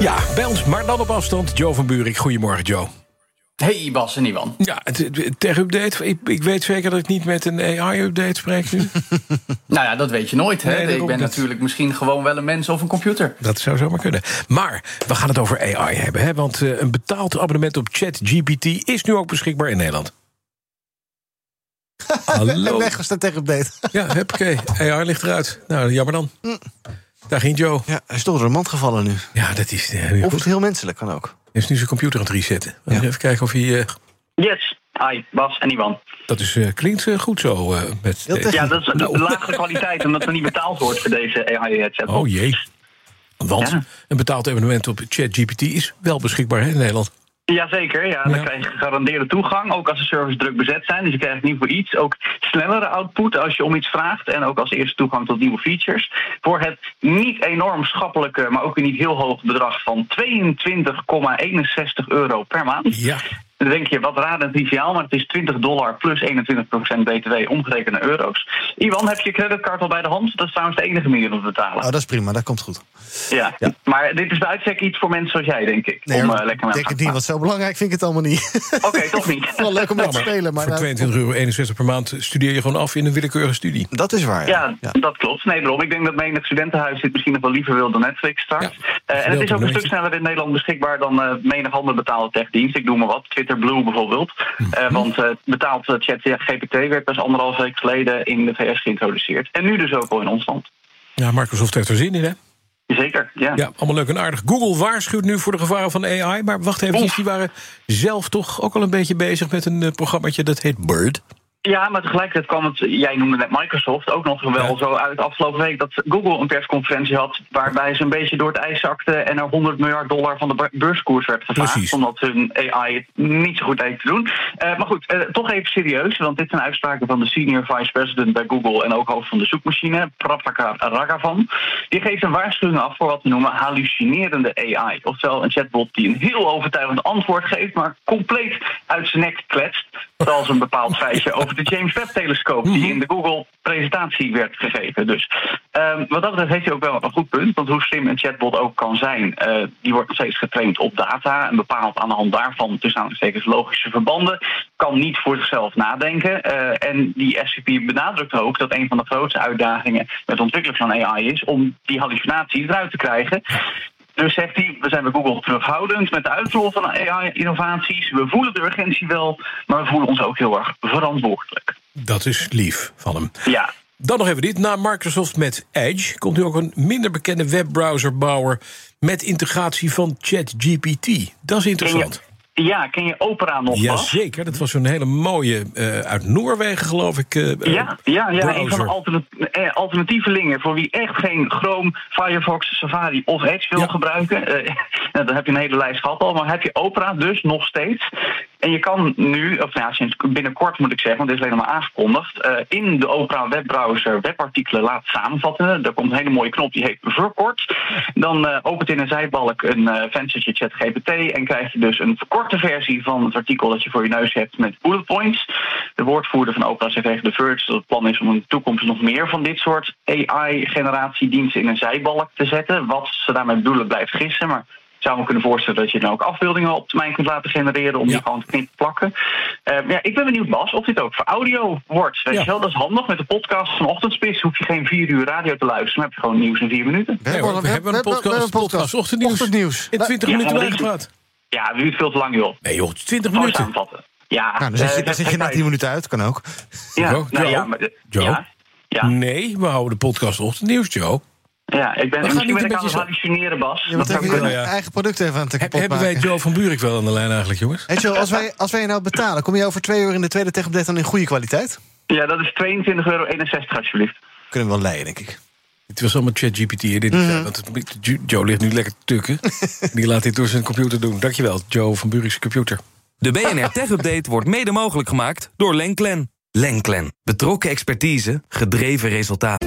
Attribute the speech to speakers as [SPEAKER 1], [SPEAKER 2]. [SPEAKER 1] Ja, bij ons, maar dan op afstand. Joe van Buurik. Goedemorgen, Joe.
[SPEAKER 2] Hey Bas en Iwan.
[SPEAKER 1] Ja, het- het- tech-update. Ik, ik weet zeker dat ik niet met een AI-update spreek nu.
[SPEAKER 2] Nou ja, dat weet je nooit. Hè?
[SPEAKER 1] Nee, daarom,
[SPEAKER 2] ik ben
[SPEAKER 1] dat-
[SPEAKER 2] natuurlijk misschien gewoon wel een mens of een computer.
[SPEAKER 1] Dat zou zomaar kunnen. Maar we gaan het over AI hebben. Hè? Want eh, een betaald abonnement op ChatGPT is nu ook beschikbaar in Nederland. Hallo.
[SPEAKER 3] Weg was de tech-update.
[SPEAKER 1] Ja, huppakee. AI ligt eruit. Nou, jammer dan. Daar ging Joe.
[SPEAKER 3] Ja, hij is toch door een mand gevallen nu.
[SPEAKER 1] Ja, dat is... eh, Hij
[SPEAKER 3] Of het heel menselijk kan ook.
[SPEAKER 1] heeft nu zijn computer aan het resetten. We gaan Even kijken of hij... eh,
[SPEAKER 2] Yes. Hi, Bas en Iwan.
[SPEAKER 1] dat is, eh, klinkt eh, goed zo. eh, met
[SPEAKER 3] Heel
[SPEAKER 1] deze-
[SPEAKER 2] Ja, dat is
[SPEAKER 1] Nou.
[SPEAKER 2] de lagere kwaliteit, omdat er niet betaald wordt voor deze AI-headset.
[SPEAKER 1] Oh jee. Want
[SPEAKER 2] Ja.
[SPEAKER 1] een betaald abonnement op ChatGPT is wel beschikbaar hè, in Nederland.
[SPEAKER 2] Jazeker, ja. Dan
[SPEAKER 1] Ja.
[SPEAKER 2] krijg je gegarandeerde toegang, ook als de servers druk bezet zijn. Dus je krijgt niet voor iets ook snellere output als je om iets vraagt. En ook als eerste toegang tot nieuwe features. Voor het niet enorm schappelijke, maar ook weer niet heel hoog bedrag van 22,61 euro per maand.
[SPEAKER 1] Ja.
[SPEAKER 2] Dan denk je, wat raar en triviaal, maar het is 20 dollar plus 21% btw omgerekend naar euro's. Iwan, heb je je creditcard al bij de hand? Dat is trouwens de enige manier om te betalen.
[SPEAKER 3] Oh, dat is prima, dat komt goed.
[SPEAKER 2] ja.
[SPEAKER 3] ja.
[SPEAKER 2] Maar dit is de uitzek iets voor mensen zoals jij, denk ik. om eh,
[SPEAKER 3] maar
[SPEAKER 2] lekker
[SPEAKER 3] ik denk
[SPEAKER 2] mee aan
[SPEAKER 3] het
[SPEAKER 2] te
[SPEAKER 3] niet,
[SPEAKER 2] gaan.
[SPEAKER 3] want zo belangrijk vind ik het allemaal niet.
[SPEAKER 2] Oké, toch
[SPEAKER 3] Het is wel
[SPEAKER 2] niet.
[SPEAKER 3] leuk om mee te spelen, maar...
[SPEAKER 1] Voor
[SPEAKER 3] nou,
[SPEAKER 1] 22,61 euro per maand studeer je gewoon af in een willekeurige studie.
[SPEAKER 3] dat is waar.
[SPEAKER 2] Ja,
[SPEAKER 3] ja.
[SPEAKER 2] dat klopt. Nee, daarom. Ik denk dat menig studentenhuis dit misschien nog wel liever wil dan Netflix straks.
[SPEAKER 1] Ja,
[SPEAKER 2] Eh, en het is ook een
[SPEAKER 1] probleem.
[SPEAKER 2] stuk sneller in Nederland beschikbaar dan eh, menig andere betaalde techdienst. Ik noem maar wat, Twitter Blue bijvoorbeeld. Eh, want eh, betaald eh, chat ja, GPT werd pas anderhalf week geleden in de VS geïntroduceerd. En nu dus ook al in ons land.
[SPEAKER 1] Ja, Microsoft heeft er zin in, hè?
[SPEAKER 2] Zeker, ja.
[SPEAKER 1] Ja, allemaal leuk en aardig. Google waarschuwt nu voor de gevaren van AI. Maar wacht even,
[SPEAKER 2] Oef.
[SPEAKER 1] die waren zelf toch ook al een beetje bezig met een eh, programmaatje dat heet Bird.
[SPEAKER 2] Ja, maar tegelijkertijd kwam het, jij noemde net Microsoft, ook nog wel
[SPEAKER 1] Ja.
[SPEAKER 2] zo uit afgelopen week dat Google een persconferentie had waarbij ze een beetje door het ijs zakte en er 100 miljard dollar van de beur- beurskoers werd gevaagd.
[SPEAKER 1] Precies.
[SPEAKER 2] Omdat hun AI het niet zo goed deed te doen. Eh, maar goed, eh, toch even serieus, want dit zijn uitspraken van de senior vice president bij Google en ook hoofd van de zoekmachine, Prabhakar Raghavan. Die geeft een waarschuwing af voor wat we noemen hallucinerende AI. Oftewel een chatbot die een heel overtuigend antwoord geeft, maar compleet uit zijn nek kletst. Zoals een bepaald feitje over de James Webb-telescoop, die in de Google-presentatie werd gegeven. Dus ehm, wat dat betreft heeft hij ook wel een goed punt. Want hoe slim een chatbot ook kan zijn, eh, die wordt nog steeds getraind op data. En bepaalt aan de hand daarvan, tussen aanhalingstekens, logische verbanden. Kan niet voor zichzelf nadenken. Eh, en die SCP benadrukt ook dat een van de grootste uitdagingen met ontwikkelen van AI is om die hallucinaties eruit te krijgen. Dus zegt hij, we zijn bij Google terughoudend met de uitrol van AI-innovaties. We voelen de urgentie wel, maar we voelen ons ook heel erg verantwoordelijk.
[SPEAKER 1] Dat is lief van hem.
[SPEAKER 2] Ja,
[SPEAKER 1] Dan nog even dit. Na Microsoft met Edge komt nu ook een minder bekende webbrowserbouwer met integratie van ChatGPT. Dat is
[SPEAKER 2] ken
[SPEAKER 1] interessant.
[SPEAKER 2] je, ja, ken je Opera nog, Bas?
[SPEAKER 1] Jazeker, dat was zo'n hele mooie eh, uit Noorwegen, geloof ik. eh,
[SPEAKER 2] Ja, ja, ja een van de
[SPEAKER 1] browser.
[SPEAKER 2] alternat eh, alternatievelingen voor wie echt geen Chrome, Firefox, Safari of Edge wil
[SPEAKER 1] Ja.
[SPEAKER 2] gebruiken. Eh, nou, dan heb je een hele lijst gehad al, maar heb je Opera dus nog steeds. En je kan nu, of nou, ja, sinds binnenkort moet ik zeggen, want dit is alleen maar aangekondigd, eh, in de Opera webbrowser webartikelen laten samenvatten. Daar komt een hele mooie knop, die heet verkort. Dan eh, opent in een zijbalk een eh venstertje ChatGPT en krijg je dus een verkorte versie van het artikel dat je voor je neus hebt met bullet points. De woordvoerder van Opera zei tegen The Verge dat het plan is om in de toekomst nog meer van dit soort AI-generatiediensten in een zijbalk te zetten. Wat ze daarmee bedoelen blijft gissen, maar ik zou me kunnen voorstellen dat je dan ook afbeeldingen op termijn kunt laten genereren om
[SPEAKER 1] Ja.
[SPEAKER 2] die gewoon te knippen plakken. Eh, ja, ik ben benieuwd, Bas, of dit ook voor audio wordt. Weet
[SPEAKER 1] Ja.
[SPEAKER 2] je wel, dat is handig. Met de podcast van Ochtendspits hoef je geen vier uur radio te luisteren, maar heb je gewoon nieuws in vier minuten.
[SPEAKER 1] Nee, hoor, we hebben een podcast, podcast ochtendnieuws.
[SPEAKER 3] Ochtendnieuws.
[SPEAKER 1] In
[SPEAKER 3] Nou,
[SPEAKER 1] 20
[SPEAKER 2] Ja, Oh,
[SPEAKER 1] minuten
[SPEAKER 2] maar dit-
[SPEAKER 1] bijgepraat.
[SPEAKER 2] Ja, wie het veel te lang, joh.
[SPEAKER 1] Nee joh, 20
[SPEAKER 2] Gewoon
[SPEAKER 1] minuten.
[SPEAKER 2] samenvatten. Ja,
[SPEAKER 3] nou, dan zit je,
[SPEAKER 2] eh,
[SPEAKER 3] dan zit je na 10 minuten uit, kan ook.
[SPEAKER 2] Ja,
[SPEAKER 1] Joe?
[SPEAKER 2] nou ja,
[SPEAKER 1] Joe?
[SPEAKER 2] maar,
[SPEAKER 1] Joe? Hmm.
[SPEAKER 2] ja, ja.
[SPEAKER 1] Nee, we houden de podcast ochtendnieuws, Joe.
[SPEAKER 2] Ja, ik ben,
[SPEAKER 1] gaan
[SPEAKER 2] misschien
[SPEAKER 1] niet
[SPEAKER 2] ben ik
[SPEAKER 1] een
[SPEAKER 2] aan het
[SPEAKER 1] beetje zo-
[SPEAKER 2] hallucineren, Bas.
[SPEAKER 3] Je
[SPEAKER 2] dat
[SPEAKER 3] moet
[SPEAKER 2] zou
[SPEAKER 3] even je nou
[SPEAKER 2] kunnen.
[SPEAKER 1] ja.
[SPEAKER 3] eigen product even aan het
[SPEAKER 1] Heb-
[SPEAKER 3] kapot
[SPEAKER 1] hebben wij
[SPEAKER 3] maken.
[SPEAKER 1] Joe van Buurik wel aan de lijn eigenlijk, jongens?
[SPEAKER 3] Hey Joe, als wij, als wij je nou betalen, kom je over twee uur in de tweede tech-update dan in goede kwaliteit?
[SPEAKER 2] Ja, dat is 22,61 euro alsjeblieft.
[SPEAKER 3] Kunnen we wel leiden, denk ik.
[SPEAKER 1] Het was allemaal ChatGPT. hè, dit niet, ja, Want het- Jo- Joe ligt nu lekker te tukken. Die laat dit door zijn computer doen. Dankjewel, Joe van Burik's computer.
[SPEAKER 4] De BNR Tech Update wordt mede mogelijk gemaakt door Lenklen. Lenklen. Betrokken expertise, gedreven resultaat.